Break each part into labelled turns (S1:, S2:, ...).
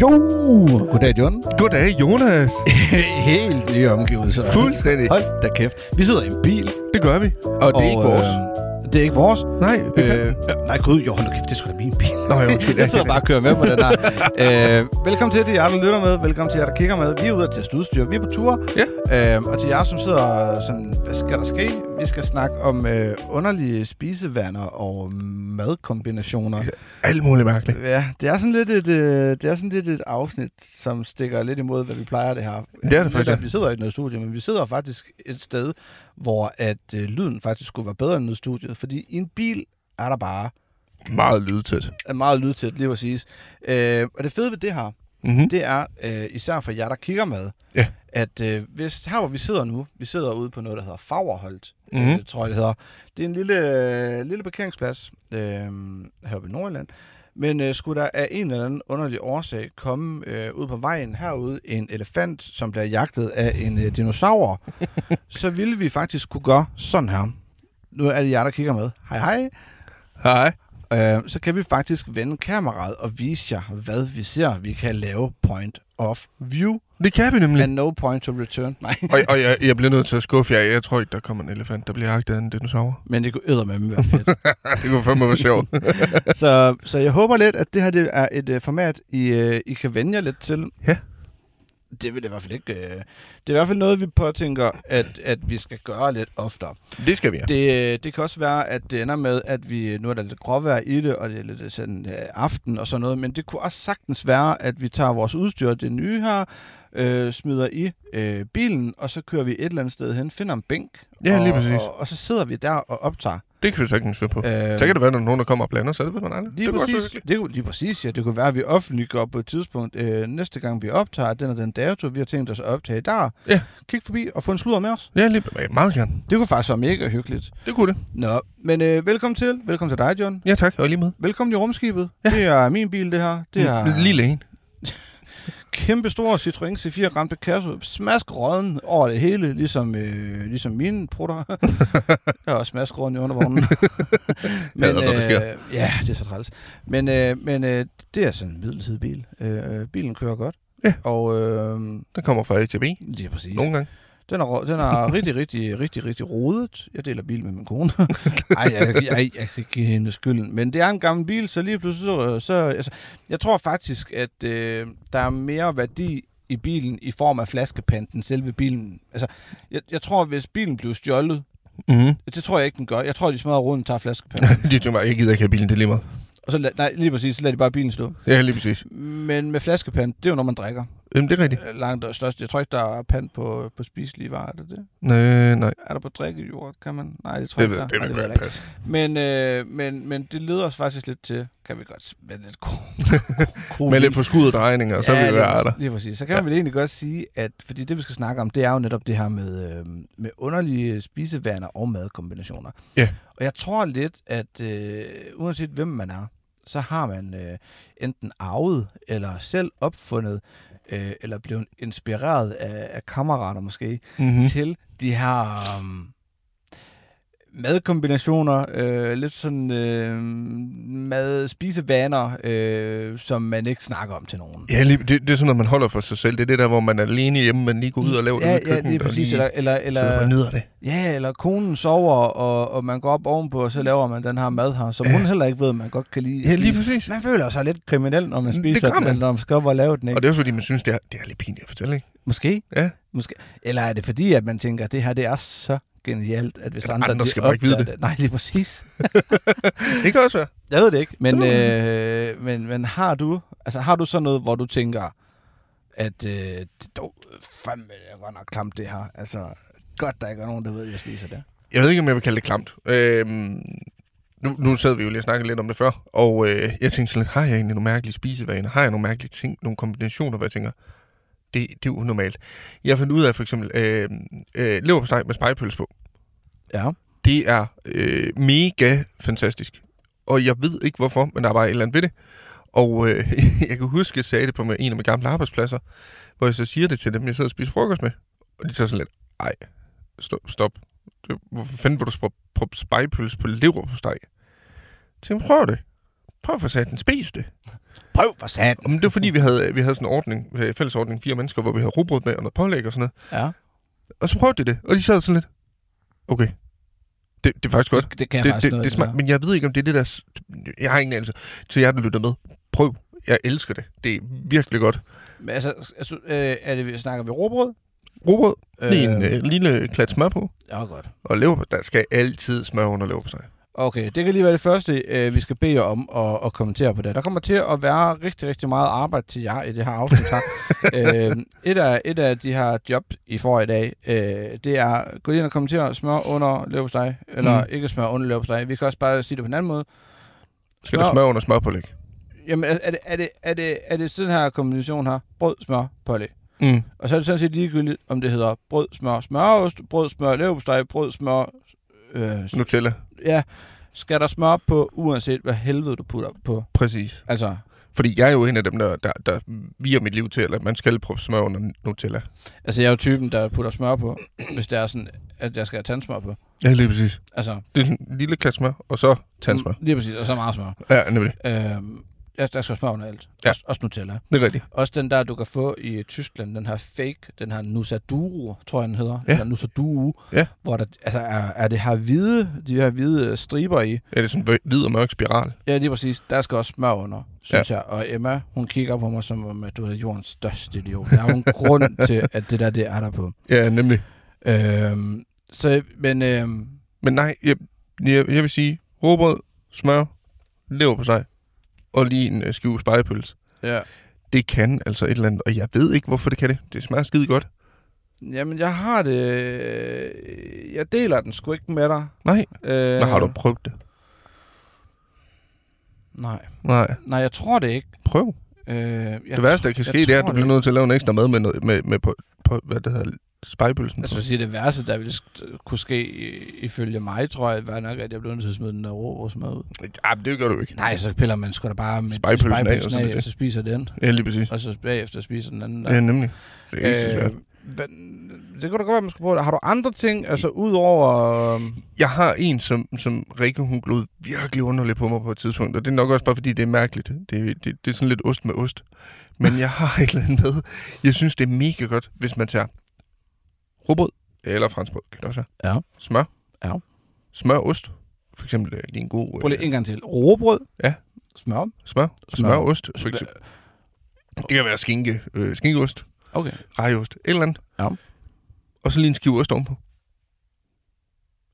S1: Jo! Goddag, John.
S2: Goddag, Jonas.
S1: Helt nye omgivelser.
S2: Fuldstændig.
S1: Hold da kæft. Vi sidder i en bil.
S2: Det gør vi. Og det er ikke vores.
S1: Øh, det er ikke vores.
S2: Nej, vi kan-
S1: Øh, nej, gud, jo, hold nu kæft, det er sgu da min bil.
S2: Nå, ja, undskyld.
S1: jeg sidder bare og kører med på den her. øh, velkommen til jer, der lytter med. Velkommen til jer, der kigger med. Vi er ude og teste udstyr. Vi er på tur. Ja. Øh, og til jer, som sidder og sådan, hvad skal der ske? Vi skal snakke om øh, underlige spisevaner og madkombinationer.
S2: Alt muligt mærkeligt.
S1: Ja, det er sådan lidt et, øh, det er sådan lidt et afsnit, som stikker lidt imod, hvad vi plejer det her.
S2: Det er det
S1: Lidt,
S2: faktisk.
S1: at Vi sidder i noget studie, men vi sidder faktisk et sted, hvor at øh, lyden faktisk skulle være bedre end noget studie, fordi i en bil er der bare
S2: Meget lydtæt.
S1: er meget lydtæt, lige præcis. Øh, og det fede ved det her,
S2: Mm-hmm.
S1: det er øh, især for jer, der kigger med,
S2: Ja.
S1: at øh, hvis, her hvor vi sidder nu, vi sidder ude på noget, der hedder Fagerholt, mm-hmm.
S2: Mhm.
S1: øh, tror jeg det hedder. Det er en lille, øh, lille parkeringsplads øh, heroppe i Nordjylland. Men øh, skulle der af en eller anden underlig årsag komme øh, ud på vejen herude en elefant, som bliver jagtet af en øh, dinosaur, så ville vi faktisk kunne gøre sådan her. Nu er det jer, der kigger med. Hej hej.
S2: Hej.
S1: Øh, så kan vi faktisk vende kameraet og vise jer, hvad vi ser. Vi kan lave point of view
S2: Det kan vi nemlig.
S1: and no point to return. Nej,
S2: Og, og jeg, jeg bliver nødt til at skuffe jer. Jeg tror ikke, der kommer en elefant, der bliver jagtet af en dinosaur.
S1: men det kunne æder med være fedt.
S2: Ja, det kunne fandme være sjovt.
S1: så, så jeg håber lidt, at det her det er et øh, format, I, øh, I kan vende jer lidt til.
S2: Ja.
S1: Det vil det i hvert fald ikke. Øh, det er i hvert fald noget, vi påtænker, at, at vi skal gøre lidt oftere.
S2: det skal vi have.
S1: Det, øh, det kan også være, at det ender med, at vi nu er der lidt gråvejr i det, og det er lidt øh, sådan øh, aften og sådan noget, men det kunne også sagtens være, at vi tager vores udstyr, det nye her, øh, smider i øh, bilen, og så kører vi et eller andet sted hen, finder en bænk,
S2: Ja,
S1: og,
S2: lige præcis.
S1: Og, og så sidder vi der og optager.
S2: Det kan vi sagtens finde på.
S1: Øh,
S2: Så kan det være, at der er nogen, der kommer og blander sig. Det ved man aldrig.
S1: Lige
S2: det kunne også være
S1: præcis,
S2: hyggeligt.
S1: det kunne, lige præcis, ja. Det kunne være, at vi offentliggør på et tidspunkt, øh, næste gang vi optager, at den og den dato, vi har tænkt os at optage der.
S2: Ja.
S1: Kig forbi og få en sludder med os.
S2: Ja, lige, ja, meget gerne.
S1: Det kunne faktisk være mega hyggeligt.
S2: Det kunne det.
S1: Nå, men øh, velkommen til. Velkommen til dig, John.
S2: Ja, tak. Og lige med.
S1: Velkommen i rumskibet. Ja. Det er min bil, det her. Det er
S2: L- Lille en.
S1: kæmpe stor Citroën C4 Grand Picasso. Smask rådden over det hele, ligesom, øh, ligesom mine prutter. jeg er også smask rådden i undervognen. øh,
S2: Jeg ved godt, hvad der sker.
S1: ja, det er så træls. Men, øh, men øh, det er sådan en midlertidig bil. Øh, bilen kører godt.
S2: Ja.
S1: Og øh,
S2: Den kommer fra A til B.
S1: det er præcis.
S2: Nogle gange.
S1: Den er, rå- den er rigtig, rigtig, rigtig, rigtig rodet. Jeg deler bil med min kone. Ej, jeg, jeg, jeg, jeg kan ikke give hende skylden. Men det er en gammel bil, så lige pludselig så... så altså, jeg tror faktisk, at øh, der er mere værdi i bilen i form af flaskepant end selve bilen. Altså, jeg, jeg tror, hvis bilen blev stjålet,
S2: Mm-hmm.
S1: det tror jeg ikke, den gør. Jeg tror, de smadrer rundt og tager flaskepant.
S2: det er jo bare, jeg gider ikke have bilen. Det er lige meget.
S1: og så lad, nej, lige præcis, så lader de bare bilen stå.
S2: Ja, lige præcis.
S1: Men med flaskepant, det er jo, når man drikker.
S2: Jamen, det er rigtigt.
S1: Øh, Langt og størst. Jeg tror ikke, der er pant på, på spiselige varer. Er der det?
S2: Nej, nej.
S1: Er der på drikkejord? Kan man? Nej, det tror
S2: Det
S1: jeg
S2: vil,
S1: ikke. der
S2: det
S1: er. Nej,
S2: vil
S1: ved jeg
S2: godt
S1: da
S2: passe.
S1: Men, øh, men, men det leder os faktisk lidt til, kan vi godt med lidt ko- ko-
S2: Med lidt forskuddet drejninger, så vil vi
S1: lige
S2: være
S1: præcis-
S2: der.
S1: Lige præcis. Så kan man vel egentlig godt sige, at fordi det, vi skal snakke om, det er jo netop det her med, øh, med underlige spisevaner og madkombinationer.
S2: Ja.
S1: Og jeg tror lidt, at øh, uanset hvem man er, så har man øh, enten arvet, eller selv opfundet, øh, eller blevet inspireret af, af kammerater måske,
S2: Mm-hmm.
S1: mm. til de her um, madkombinationer, øh, lidt sådan øh, mad spisevaner, øh, som man ikke snakker om til nogen.
S2: Ja, lige, det, det er sådan noget, man holder for sig selv. Det er det der, hvor man er alene hjemme, men lige går ud og laver
S1: ja,
S2: det i
S1: ja,
S2: køkkenet.
S1: det er præcis.
S2: Og lige
S1: Eller, eller,
S2: sidder og
S1: eller,
S2: nyder det.
S1: ja, eller konen sover, og, og man går op ovenpå, og så laver man den her mad her, som hun heller ikke ved, man godt kan lide.
S2: Ja, lige
S1: spise.
S2: præcis.
S1: man føler sig lidt kriminel, når man
S2: Det
S1: spiser
S2: gør
S1: den,
S2: man.
S1: eller når man skal op og lave den.
S2: Og
S1: Ikke?
S2: det er også fordi, man synes, det er, det er lidt pinligt at fortælle, ikke?
S1: Måske?
S2: Ja.
S1: Måske. Eller er det fordi, at man tænker, at det her det er så genialt, at hvis
S2: At
S1: andre,
S2: andre
S1: de
S2: skal bare ikke vide
S1: opdager Nej, lige præcis.
S2: Det kan også være.
S1: Jeg ved det ikke, men,
S2: Det må man.
S1: øh, men, men har du altså har du sådan noget, hvor du tænker, at øh, det er dog fandme det er godt nok klamt det her. Altså, godt der ikke er nogen, der ved, at jeg spiser det.
S2: Jeg ved ikke, om jeg vil kalde det klamt. Øhm, nu, nu sad vi jo lige og snakkede lidt om det før, og øh, jeg tænkte sådan lidt, har jeg egentlig nogle mærkelige spisevaner? Har jeg nogle mærkelige ting, nogle kombinationer, hvor jeg tænker, det, det er unormalt. Jeg fandt ud af for eksempel øh, øh, leverpostej med spejpøls på.
S1: Ja.
S2: Det er øh, mega fantastisk. Og jeg ved ikke hvorfor, men der er bare et eller andet ved det. Og øh, jeg kan huske, at jeg sagde det på en af mine gamle arbejdspladser, hvor jeg så siger det til dem, jeg sidder og spiser frokost med. Og de tager sådan lidt, ej, stop, stop. Det- Hvorfor fanden vil du prøve prøve spejpøls på lever på steg? Så jeg prøv det. Prøv for satan, spis det.
S1: Prøv for satan.
S2: Men det var fordi, vi havde, vi havde sådan en ordning, øh, fælles ordning, fire mennesker, hvor vi havde rugbrød med og noget pålæg og sådan noget.
S1: Ja.
S2: Og så prøvede de det, og de sad sådan lidt, okay, det, det er faktisk godt.
S1: Det, det kan jeg
S2: Det,
S1: faktisk
S2: det,
S1: noget.
S2: det, det smager, men jeg ved ikke, om det er det der... s- Jeg har ingen anelse. Til jer, der lytter med, prøv. Jeg elsker det. Det er virkelig godt.
S1: men... Altså, altså øh, er det, vi snakker vi råbrød?
S2: Rugbrød, øh, lige en øh, lille klat smør på,
S1: Ja, godt.
S2: og leverpostej. Der skal altid smør under leverpostej.
S1: Okay, det kan lige være det første, øh, vi skal bede jer om at, at kommentere på det. Der kommer til at være rigtig, rigtig meget arbejde til jer i det her afsnit her. øh, et, af, et af de her job, I får i dag, øh, det er gå ind og kommentere smør under leverpostej, eller
S2: Mm.
S1: mm. ikke smør under leverpostej. Vi kan også bare sige det på en anden måde.
S2: Skal der smør under smørpålæg?
S1: Jamen, er, er, det, er, det, er, det, er det sådan her kombination her? Brød, smør, pålæg.
S2: Mm.
S1: Og så er det sådan set ligegyldigt, om det hedder brød, smør, smørost, brød, smør, leverpostej, brød, smør... Øh,
S2: Nutella.
S1: ja, skal der smør på, uanset hvad helvede du putter på.
S2: Præcis.
S1: Altså,
S2: Fordi jeg er jo en af dem, der, der, der viger mit liv til, at man skal proppe smør under Nutella.
S1: altså jeg er jo typen, der putter smør på, hvis det er sådan, at jeg skal have tandsmør på.
S2: Ja, lige præcis.
S1: Altså,
S2: Det er sådan en lille klat smør, og så tandsmør.
S1: mm, Lige præcis, og så meget smør.
S2: Ja, nemlig.
S1: Øhm, ja, der skal smør under alt.
S2: Ja.
S1: Også, også Nutella.
S2: Det er rigtigt.
S1: Også den der, du kan få i Tyskland, den her fake, den her Nusaduro, tror jeg den hedder.
S2: Ja.
S1: Eller Nusaduro.
S2: Ja.
S1: Hvor der altså, er, er det her hvide, de her hvide øh, striber i.
S2: Ja, det er sådan en hvid og mørk spiral.
S1: Ja, lige præcis. Der skal også smør under, synes ja. jeg. Og Emma, hun kigger på mig som om, at du er jordens største idiot. Der er jo en grund til, at det der, det er der på.
S2: Ja, nemlig.
S1: Øhm, så, men øhm,
S2: Men nej, jeg, jeg, jeg vil sige råbrød, smør, lever på sig og lige en øh, skive spejepølse.
S1: ja.
S2: Det kan altså et eller andet, og jeg ved ikke, hvorfor det kan det. Det smager skide godt.
S1: Jamen, jeg har det... øh, Jeg deler den sgu ikke med dig.
S2: Nej,
S1: Øh,
S2: øh. har du prøvet det?
S1: Nej.
S2: Nej,
S1: Nej, jeg tror det ikke.
S2: prøv.
S1: Øh, jeg
S2: Jeg det værste, der kan ske, det er, at du bliver nødt til at lave en ekstra mad med, noget, med, med på, på, hvad det hedder, spejepølsen.
S1: Altså, jeg sige, det værste, der ville sk- kunne ske i- ifølge mig, tror jeg, var nok, at jeg blev nødt til at smide den der rå og smad ud.
S2: Ej, men det gør du ikke.
S1: Nej, så piller man sgu da bare med
S2: Spegepølsen af, og så er
S1: af,
S2: det
S1: og
S2: det.
S1: så spiser den.
S2: Ja, lige præcis.
S1: Og så bagefter spiser den anden.
S2: Ja, nemlig. Det er ikke så
S1: øh,
S2: svært.
S1: hvad, det kunne da godt være, man skulle prøve det. Har du andre ting, altså ud over... øhm,
S2: Jeg har en, som, som Rikke, hun glod virkelig underligt på mig på et tidspunkt, og det er nok også bare, fordi det er mærkeligt. Det, det, det er sådan lidt ost med ost. Men jeg har et eller andet med. Jeg synes, det er mega godt, hvis man tager råbrød, eller franskbrød, kan det også være.
S1: Ja.
S2: Smør.
S1: Ja.
S2: Smør, ost. For eksempel øh, lige en god... øh,
S1: Prøv lige en gang til. Råbrød.
S2: Ja.
S1: Smør.
S2: Smør, smør,
S1: Smør.
S2: ost. For eksempel. Det kan være skinke, øh, skinkeost,
S1: Okay.
S2: rejeost, et eller andet.
S1: Ja.
S2: Og så lige en skive ost ovenpå.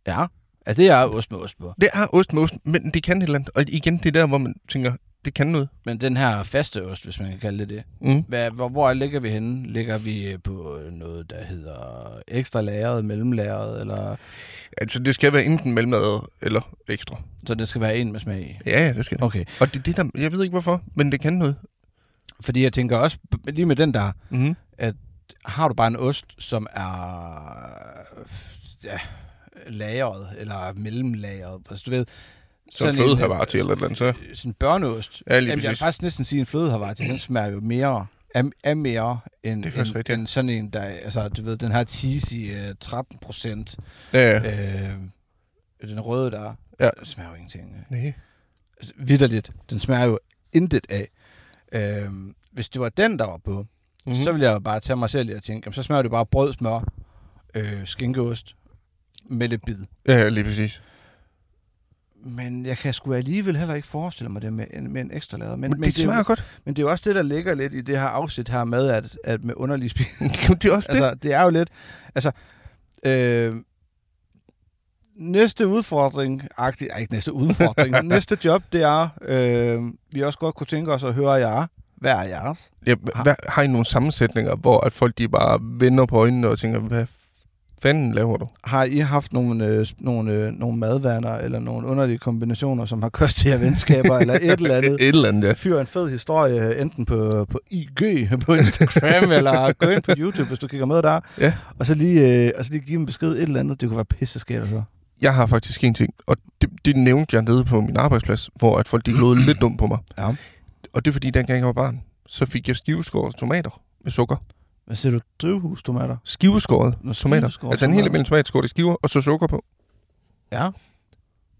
S1: Ja. Ja, det er ost med ost på.
S2: Det er ost med ost, men det kan et eller andet. Og igen, det er der, hvor man tænker, det kan noget.
S1: Men den her faste ost, hvis man kan kalde det det.
S2: Mm.
S1: Hvad, hvor, hvor ligger vi henne? Ligger vi øh, på øh, noget, der hedder ekstra lagret, mellemlagret, eller...
S2: Altså, det skal være enten mellemmad eller ekstra.
S1: Så det skal være en med smag i?
S2: Ja, ja, det skal det.
S1: Okay.
S2: Og det er det, der... Jeg ved ikke, hvorfor, men det kan noget.
S1: Fordi jeg tænker også, b- lige med den der,
S2: Mm.
S1: har du bare en ost, som er ja, lagret eller mellemlagret. Altså, du ved,
S2: Som fløde har til eller et eller andet, så...
S1: øh, sådan en børneost.
S2: Ja, lige
S1: Jamen, jeg vil
S2: præcis.
S1: faktisk næsten sige, at en fløde har til. Den smager jo mere er, er mere end,
S2: Det er faktisk
S1: end,
S2: rigtigt.
S1: end sådan en, der... Altså, du ved, den her cheesy øh, 13 procent.
S2: Ja, ja.
S1: Øh, den røde, der
S2: Ja.
S1: ja. smager jo ingenting.
S2: Nej.
S1: Altså, Vitterligt. Den smager jo intet af. Øh, hvis det var den, der var på,
S2: Mhm.
S1: mm-hmm. så ville jeg jo bare tage mig selv i at tænke, jamen, så smager det bare brød, smør, øh, skinkeost med lidt bid.
S2: Ja, lige præcis.
S1: Men jeg kan sgu alligevel heller ikke forestille mig det med en, med en ekstra lader.
S2: Men, men det, smager
S1: det,
S2: godt.
S1: men det er jo også det, der ligger lidt i det her afsnit her med, at, at med underlig spil.
S2: det er også det.
S1: Altså, det er jo lidt... Altså, øh, næste udfordring... Agtig, ej, ikke næste udfordring. næste job, det er... Øh, vi også godt kunne tænke os at høre jer. Hvad er jeres?
S2: Ja, hvad, har I nogle sammensætninger, hvor at folk de bare vender på øjnene og tænker, hvad fanden laver du?
S1: Har I haft nogle, øh, nogle, øh, nogle madvaner eller nogle underlige kombinationer, som har kostet jer venskaber eller et eller andet?
S2: Et eller andet, ja.
S1: Fyr en fed historie, øh, enten på, på IG, på Instagram, eller gå ind på YouTube, hvis du kigger med der.
S2: Ja.
S1: Og, så lige, øh, og så lige give dem besked et eller andet. Det kunne være pisseskært at høre.
S2: Jeg har faktisk en ting, og det, det nævnte jeg nede på min arbejdsplads, hvor at folk de glodede lidt dumt på mig.
S1: Ja.
S2: Og det er fordi, dengang jeg var barn, så fik jeg skiveskåret tomater med sukker.
S1: Hvad siger du? Drivhustomater?
S2: Skiveskåret
S1: Nå,
S2: tomater.
S1: skiveskåret
S2: Altså en hel
S1: tomater.
S2: almindelig tomat skåret i skiver, og så sukker på.
S1: Ja.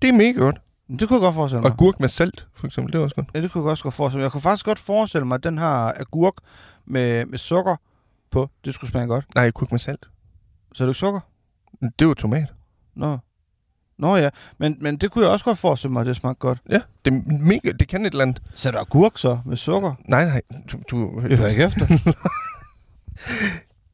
S2: Det er mega godt.
S1: Men Det kunne jeg godt forestille mig.
S2: Og gurk med salt, for eksempel, det var også godt.
S1: Ja, det kunne jeg også godt forestille mig. Jeg kunne faktisk godt forestille mig, at den her agurk med, med sukker på, det skulle smage godt.
S2: Nej, gurk med salt.
S1: Så er det ikke sukker?
S2: Det var tomat.
S1: Nå. Nå ja, men, men det kunne jeg også godt forestille mig, at det smagte godt.
S2: Ja, det, er mega, det kan et eller andet.
S1: Så er der agurk så med sukker?
S2: Nej, nej, du, du,
S1: Det hører jeg ikke efter.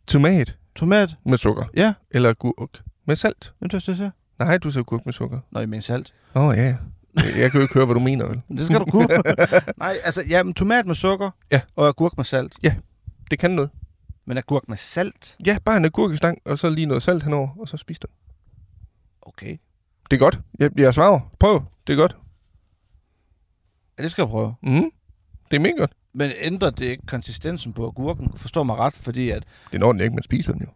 S2: tomat
S1: Tomat?
S2: med sukker.
S1: Ja,
S2: Eller gurk med salt.
S1: det er det, jeg
S2: Nej, du sagde gurk med sukker.
S1: Nå, jeg mener salt.
S2: Åh, oh, ja. ja. Jeg kan jo ikke høre, hvad du mener, vel?
S1: Men Det skal du kunne. Nej, altså, ja, men tomat med sukker
S2: Ja.
S1: og agurk med salt.
S2: Det kan noget.
S1: Men agurk med salt?
S2: Ja, bare en agurkestang, og så lige noget salt henover, og så spis den.
S1: Okay.
S2: Det er godt. Jeg, jeg svarer. Prøv. Det er godt.
S1: Ja, det skal jeg prøve.
S2: Mm. Det er mega godt.
S1: Men ændrer det ikke konsistensen på agurken? Forstår mig ret, fordi at
S2: Det når den ikke, man spiser den jo.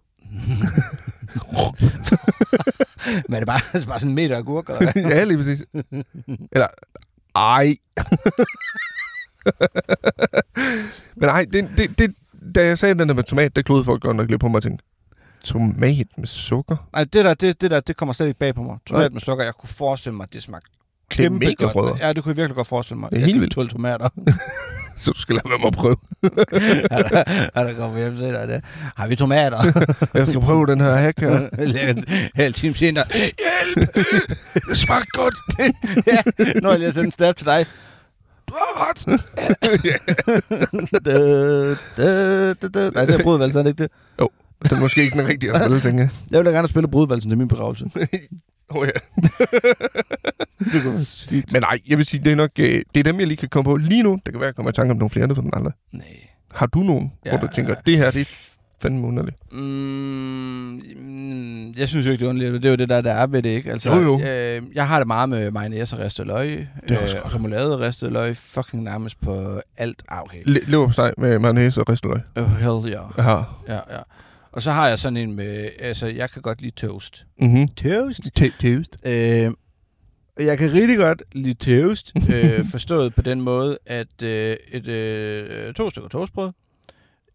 S1: man er bare, altså bare sådan en meter agurk. Eller hvad?
S2: ja, lige præcis. Eller, ej. Men ej, det, det, det, da jeg sagde den der med tomat, der klodede folk godt nok lidt på mig og tænkte, tomat med sukker?
S1: Nej, det der, det, det der, det kommer slet ikke bag på mig.
S2: Nej.
S1: Tomat med sukker, jeg kunne forestille mig, at det smagte
S2: Det er
S1: kæmpe
S2: mega
S1: godt.
S2: frøder.
S1: Ja, det kunne jeg virkelig godt forestille mig.
S2: Det er
S1: jeg
S2: helt
S1: kan
S2: vildt.
S1: tåle tomater.
S2: Så du skal lade være med at prøve.
S1: ja, der, ja, der kommer hjem til dig det. Har vi tomater?
S2: Jeg skal prøve den her hack her.
S1: Halv time senere.
S2: Det smagte godt.
S1: ja, nu har jeg lige sendt en snap til dig.
S2: Du har ret.
S1: da, da, da, da. Nej, det er brudvalsen, er det ikke det?
S2: Den er måske ikke den rigtige at spille, tænker jeg.
S1: Jeg vil da gerne spille brudvalsen til min begravelse.
S2: Oh, ja.
S1: det kunne være sygt.
S2: Men nej, jeg vil sige, det er nok øh, det er dem, jeg lige kan komme på lige nu. Det kan være, jeg kommer i tanke om nogle flere, det ved man aldrig.
S1: Nej.
S2: Har du nogen, ja.
S1: Ja.
S2: hvor du tænker, det her, det er fandme underligt?
S1: Mm, mm, jeg synes jo ikke, det er underligt. Det er jo det, der, der er ved det, ikke? Altså,
S2: Jo, jo.
S1: Øh, jeg har det meget med mayonnaise og ristet løg. Øh,
S2: Det er også godt.
S1: Remoulade og ristet løg. Fucking nærmest på alt. Ah, okay.
S2: Le- Leverpostej med mayonnaise og risteløg.
S1: Oh, hell yeah.
S2: Jeg har.
S1: Ja, ja. Og så har jeg sådan en med... Altså, jeg kan godt lide toast.
S2: Mm-hmm.
S1: Toast?
S2: Tævst.
S1: Øh, jeg kan rigtig godt lide toast, øh, forstået på den måde, at øh, et, øh, to stykker toastbrød,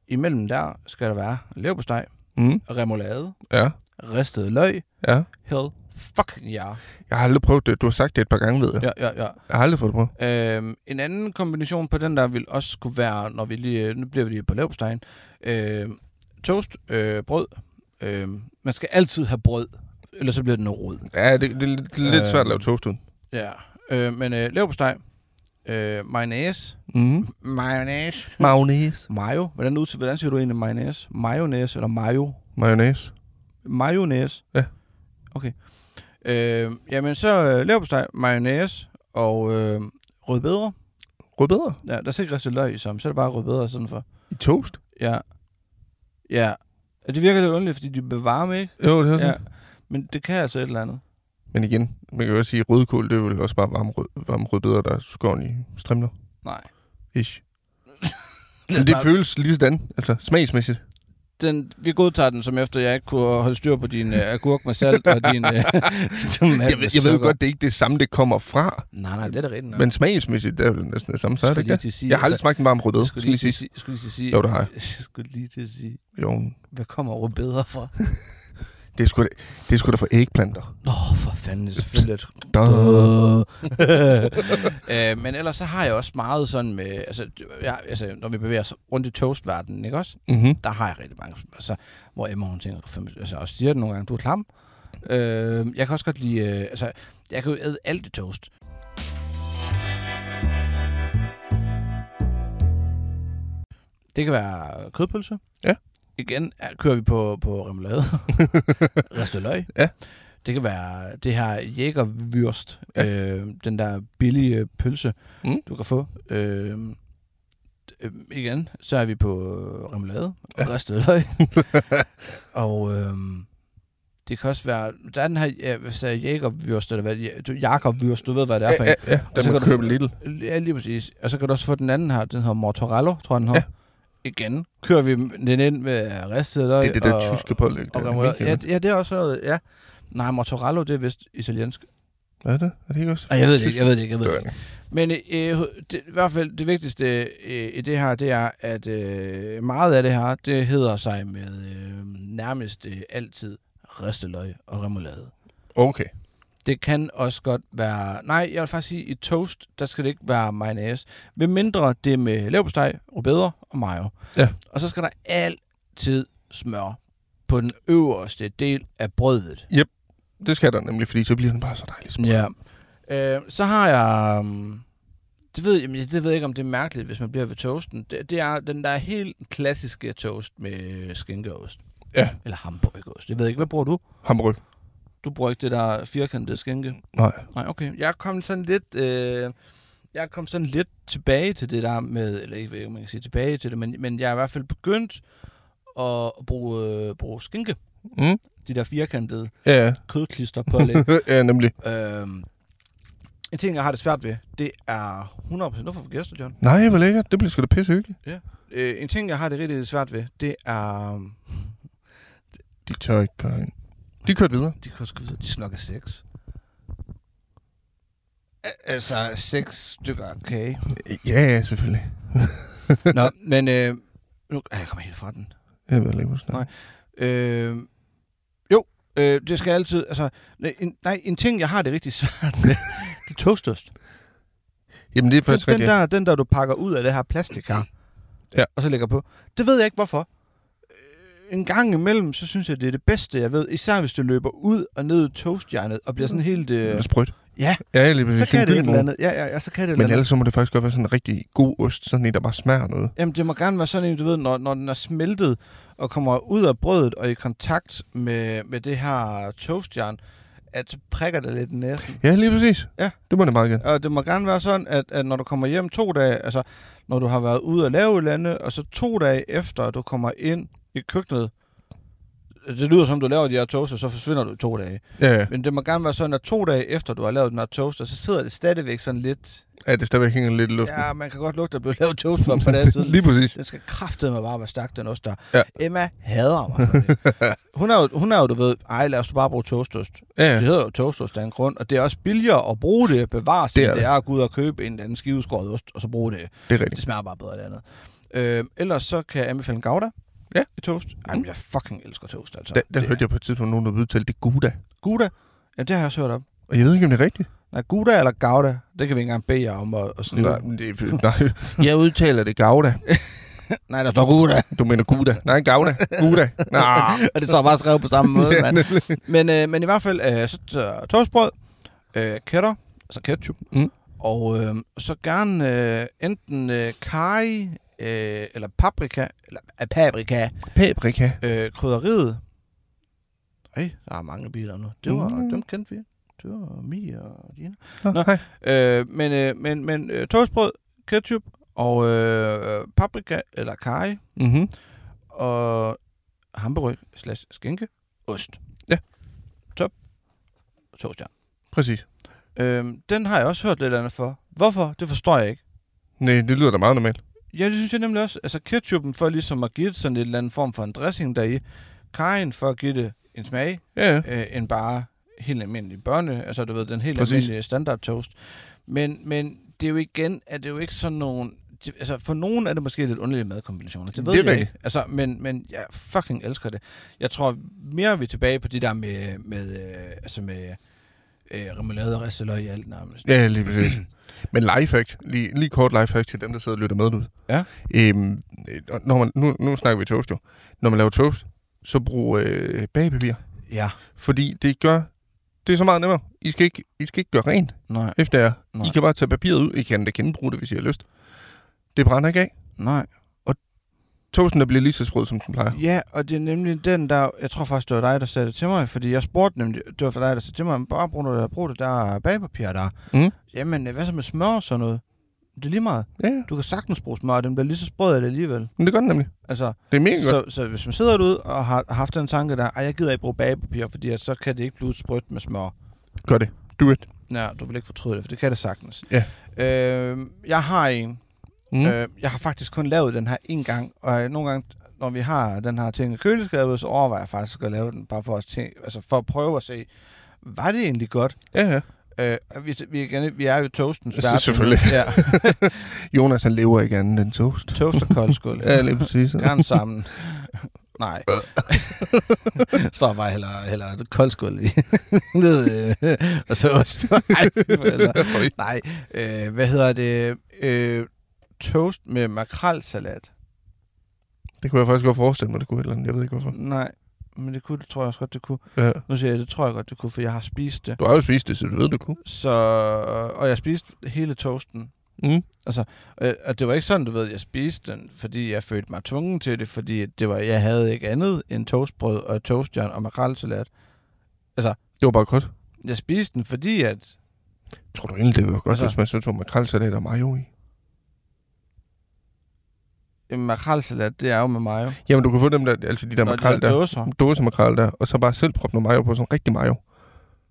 S1: imellem der skal der være leverpostej,
S2: Mm.
S1: remoulade,
S2: Ja,
S1: ristet løg,
S2: ja.
S1: hell fucking ja.
S2: Jeg har aldrig prøvet det. Du har sagt det et par gange, ved jeg. Ja.
S1: ja, ja, ja.
S2: Jeg har aldrig fået det prøvet.
S1: Øhm, en anden kombination på den der vil også kunne være, når vi lige, øh, nu bliver vi lige på leverpostejen, øh, toast, øh, brød. Øh, man skal altid have brød, ellers så bliver det noget rod.
S2: Ja, det, det, er lidt- det er lidt
S1: Øh.
S2: svært at lave toast uden.
S1: Ja, øh, men øh, leverpostej, øh, mayonnaise,
S2: Mm.
S1: mayonnaise,
S2: Mayonnaise.
S1: mayo, hvordan, ud, hvordan siger du egentlig mayonnaise? Mayonnaise eller mayo?
S2: Mayonnaise.
S1: Mayonnaise?
S2: Ja.
S1: Okay. Øh, jamen så øh, leverpostej, mayonnaise og øh, rødbeder.
S2: Rødbeder.
S1: Ja, der skal ikke ristet løg i sammen, så er det bare rødbeder sådan for.
S2: I toast?
S1: Ja. Ja. Og det virker lidt underligt, fordi de bevarer mig, ikke?
S2: Jo, det er
S1: Ja.
S2: sådan. Ja.
S1: Men det kan altså et eller andet.
S2: Men igen, man kan jo også sige, at rødkål, det er vel også bare varme, rød, varme rødbeder, der er skåren i strimler.
S1: Nej.
S2: Ish. Men det føles lige sådan, altså smagsmæssigt.
S1: Den, vi godtager den, som efter jeg ikke kunne holde styr på din øh, agurk med salt og din øh, tomat
S2: Jeg, ved, jeg ved jo godt, det er ikke det samme, det kommer fra.
S1: Nej, nej, det er da rigtigt.
S2: Ja. Men smagsmæssigt, det er vel næsten det samme, så er det ikke det.
S1: til at sige,
S2: Jeg har aldrig smagt en varm rødbed,
S1: jeg
S2: skal
S1: skulle lige
S2: lige
S1: til at
S2: sige.
S1: sige, jeg skulle lige til at sige,
S2: Jo, det har jeg.
S1: jeg skulle lige til at sige,
S2: Jo,
S1: hvad kommer over bedre fra?
S2: det er sgu da, det er sgu da for ægplanter.
S1: Nå, for fanden, det er selvfølgelig. at-
S2: Da.
S1: øh, men ellers så har jeg også meget sådan med, altså, jeg, altså når vi bevæger os rundt i toastverdenen, ikke også?
S2: Mm-hmm.
S1: der har jeg rigtig mange, altså, hvor Emma hun tænker, du er fandme- altså, og siger det nogle gange, du er klam. Øh, jeg kan også godt lide, øh, altså, jeg kan jo æde alt i toast. Det kan være kødpølse.
S2: Ja.
S1: Igen ja, kører vi på, på remoulade. Ristet løg.
S2: Ja.
S1: Det kan være det her jægervyrst, ja. øh, den der billige øh, pølse,
S2: Mm.
S1: du kan få. Øh, øh, igen, så er vi på remoulade og ja. ristet løg. og øh, det kan også være, der er den her ja, hvad sagde, jeg, jægervyrst, eller hvad, ja, du- jakobvyrst, du ved, hvad det er for en.
S2: Ja, ja,
S1: Og så
S2: der må
S1: kan du-
S2: købe lidt.
S1: Ja, lige præcis. Og så kan du også få den anden her, den her Mortorello, tror jeg den her.
S2: Ja.
S1: Ja. Igen kører vi den ind med ristet løg.
S2: Det er det der
S1: og,
S2: tyske pålæg.
S1: Og
S2: der er
S1: remoulade.
S2: mega
S1: ja,
S2: godt.
S1: ja, det er også noget, ja. Nej, Mortorello, det er vist italiensk.
S2: Hvad er det? Er det ikke også?
S1: Ej, jeg ved det ikke, jeg ved det ikke, jeg ved det ikke.
S2: ikke.
S1: Men øh, det, i hvert fald det vigtigste øh, i det her, det er, at øh, meget af det her, det hedder sig med øh, nærmest øh, altid risteløg og remoulade.
S2: Okay.
S1: Det kan også godt være... Nej, jeg vil faktisk sige, i toast, der skal det ikke være mayonnaise. Ved mindre det er med leverpostej, rødbeder og mayo.
S2: Ja.
S1: Og så skal der altid smør på den øverste del af brødet.
S2: Det skal der nemlig, fordi så bliver den bare så dejlig smuk.
S1: Ja. Øh, så har jeg... øhm, Det ved, jamen, det ved jeg ikke, om det er mærkeligt, hvis man bliver ved toasten. Det, det er den der helt klassiske toast med skinkeost.
S2: Ja.
S1: Eller hamburgerost. Jeg ved ikke, hvad bruger du?
S2: Hamburg.
S1: Du bruger ikke det der firkantede skinke?
S2: Nej.
S1: Nej, okay. Jeg kom sådan lidt... Øh, jeg kom sådan lidt tilbage til det der med... Eller ikke, ved ikke, om man kan sige tilbage til det, men, men jeg er i hvert fald begyndt at, at bruge, øh, bruge skinke.
S2: Mm.
S1: De der firkantede
S2: Ja,
S1: kødklister på lidt.
S2: ja, nemlig.
S1: øhm, en ting, jeg har det svært ved, det er 100%... Hvorfor forgæster du, John?
S2: Nej, hvor lækkert. Det bliver sgu da pisse hyggeligt.
S1: Øh, en ting, jeg har det rigtig svært ved, det er... øhm,
S2: De tør ikke køre ind. De kørte videre.
S1: De kunne sgu vide, de snakker sex. Al- Altså, seks stykker kage.
S2: Ja, ja, selvfølgelig.
S1: Nå, men... Øh, nu, ej, jeg kommer helt fra den.
S2: Jeg ved ikke, hvor snart.
S1: Nej. Øh, jo, øh, det skal altid... Altså, nej, en, nej, en ting, jeg har det rigtig svært med, det er toastost.
S2: Jamen, det er faktisk
S1: Den, den,
S2: rigtigt.
S1: der, den der, du pakker ud af det her plastik her,
S2: Ja.
S1: og så lægger på. Det ved jeg ikke, hvorfor. Øh, En gang imellem, så synes jeg, det er det bedste, jeg ved. Især hvis du løber ud og ned i toastjernet, og bliver
S2: Mm.
S1: sådan helt...
S2: Det
S1: Øh,
S2: er sprødt.
S1: ja,
S2: Ja, lige præcis.
S1: så kan
S2: En
S1: det et eller
S2: gyldenål.
S1: andet. Ja, ja, ja, så kan det et eller
S2: Men
S1: andet.
S2: ellers så må det faktisk godt være sådan en rigtig god ost, sådan en, der bare smager noget.
S1: Jamen, det må gerne være sådan en, du ved, når, når den er smeltet og kommer ud af brødet og i kontakt med, med det her toastjern, at så prikker det lidt i næsen.
S2: Ja, lige præcis.
S1: Ja.
S2: Det må det meget gerne.
S1: Og det må gerne være sådan, at, at når du kommer hjem to dage, altså når du har været ude og lave et eller andet, og så to dage efter, at du kommer ind i køkkenet, det lyder som, du laver de her toaster, så forsvinder du i to dage.
S2: Ja, ja.
S1: Men det må gerne være sådan, at to dage efter, du har lavet den her toaster, så sidder det stadigvæk sådan lidt...
S2: ja det stadigvæk hænger lidt i luften.
S1: Ja, man kan godt lugte, at der blev lavet toast for et par dage siden.
S2: lige præcis.
S1: Den skal kraftedeme bare være stærk, den ost der.
S2: Ja.
S1: Ja. Emma hader mig for det. Hun er, jo, hun er jo, du ved, ej, lad os bare bruge toastost.
S2: Ja,
S1: Ja. Det
S2: ja.
S1: hedder jo toastost af en grund, og det er også billigere at bruge det, bevare sig,
S2: Det er
S1: det, det er at gå ud og købe en eller anden skiveskåret ost, og så bruge det.
S2: det er
S1: Det
S2: rigtigt.
S1: smager bare bedre af det andet. Øh, ellers så kan jeg anbefale en gouda
S2: Ja.
S1: i toast. Jamen, jeg fucking elsker toast, altså.
S2: Der, der
S1: det,
S2: hørte jeg på et tidspunkt nogen, der udtalte det gouda.
S1: Gouda? Ja, det har jeg også hørt om.
S2: Og jeg ved ikke, om det er rigtigt.
S1: Nej, gouda eller gouda, det kan vi ikke engang bede jer om at, at skrive.
S2: Nej, men det, nej. Jeg udtaler det gouda.
S1: Nej der står gouda,
S2: Du mener gouda. Nej, gouda. Gouda. Nah.
S1: og det står bare skrevet på samme måde,
S2: Ja,
S1: mand. Men, øh, men i hvert fald, øh, så t- toastbrød, øh, ketter, altså ketchup,
S2: Mm.
S1: og øh, så gerne øh, enten øh, kari, øh, eller paprika, eller øh, paprika,
S2: Paprika.
S1: øh, krydderiet. Ej, der er mange biler nu. Det var,
S2: Mm.
S1: mm. dem kendte vi. Det var Mia og Dina.
S2: Nå,
S1: Nå.
S2: hej.
S1: Øh, men øh, men, men øh, toastbrød, ketchup, og øh, paprika, eller kari,
S2: Mm-hmm.
S1: og hamburg slash skinke, ost.
S2: Ja.
S1: Top. Toast, ja.
S2: Præcis.
S1: Øhm, den har jeg også hørt lidt andet for. Hvorfor? Det forstår jeg ikke.
S2: Nej, det lyder da meget normalt.
S1: Ja, det synes jeg nemlig også. Altså ketchupen for ligesom at give det sådan en eller anden form for en dressing deri. Kajen for at give det en smag,
S2: Ja, ja.
S1: øh, end bare helt almindelig børne. Altså du ved, den helt
S2: Præcis.
S1: Præcis. almindelige standard toast. Men, men det er jo igen, at det er jo ikke sådan nogen... det- Altså for nogen er det måske lidt underlige madkombinationer. Det ved
S2: Det er
S1: jeg
S2: rigtigt.
S1: ikke. Altså, men, men jeg fucking elsker det. Jeg tror mere vi er tilbage på det der med, med øh, altså med øh, remoulade og risteløg i alt nærmest.
S2: Ja, lige præcis. Men lifehack, lige, lige kort lifehack til dem, der sidder og lytter med ud.
S1: Ja.
S2: Øhm, øh, når man, nu, nu snakker vi toast jo. Når man laver toast, så brug øh, bagepapir.
S1: Ja,
S2: Fordi det gør, det er så meget nemmere. I skal ikke, I skal ikke gøre rent
S1: nej,
S2: efter jer.
S1: Nej.
S2: I kan bare tage papiret ud. I kan da genbruge det, hvis I har lyst. Det brænder ikke af.
S1: nej.
S2: Toasten, der bliver lige så sprød, som den plejer.
S1: Ja, og det er nemlig den der, jeg tror faktisk, det var dig, der sagde det til mig, fordi jeg spurgte nemlig, det var for dig, der sagde til mig, "Men bare brug det, brug det der bagpapir der.
S2: Mm.
S1: Jamen, øh, hvad så med smør og sådan noget? Det er lige meget.
S2: Ja, ja.
S1: Du kan sagtens bruge smør, og den bliver lige så sprød af det alligevel.
S2: men det gør den nemlig.
S1: Altså,
S2: Det er mega godt.
S1: så, så, hvis man sidder derude og har har haft den tanke der, at jeg gider ikke bruge bagpapir, fordi at så kan det ikke blive sprødt med smør.
S2: Gør det. Do it.
S1: Nej, du vil ikke fortryde det, for det kan det sagtens.
S2: Ja.
S1: Øh, jeg har en,
S2: Mm. Øh.
S1: Øh, jeg har faktisk kun lavet den her en gang, og øh, nogle gange, når vi har den her ting i køleskabet, så overvejer jeg faktisk at lave den, bare for at, tænke, altså for at prøve at se, var det egentlig godt?
S2: Ja, ja.
S1: Øh, og vi, vi, er igen, vi er jo toastens
S2: Så
S1: verden.
S2: selvfølgelig.
S1: Ja,
S2: Jonas, han lever ikke andet end toast.
S1: toast og koldskål.
S2: Ja, lige præcis.
S1: Gerne sammen. Nej. Står bare heller, heller et koldskål i. Ned, øh, og så også. Nej, eller, nej. Øh, hvad hedder det? Øh, toast med makrelsalat.
S2: Det kunne jeg faktisk godt forestille mig, det kunne et eller andet. Jeg ved ikke hvorfor.
S1: Nej, men det kunne, det tror jeg også godt, det kunne.
S2: Ja.
S1: Nu siger jeg, det tror jeg godt, det kunne, for jeg har spist det.
S2: Du har jo spist det, så du ved, du kunne.
S1: Så, og jeg spiste hele toasten.
S2: Mm.
S1: Øh, Og det var ikke sådan, du ved, jeg spiste den, fordi jeg følte mig tvungen til det, fordi det var, jeg havde ikke andet end toastbrød og toastjern og makrelsalat.
S2: Det var bare godt.
S1: Jeg spiste den, fordi at...
S2: Tror du egentlig, det var godt,
S1: Altså-
S2: altså. hvis man så tog makrelsalat og mayo i?
S1: Jamen, makrelsalat, det er jo med mayo.
S2: Jamen, du kan få dem der, altså de der
S1: Når de
S2: makrel
S1: der
S2: der,
S1: dåser.
S2: dåse makrel der, og så bare selv proppe noget mayo på, sådan rigtig mayo.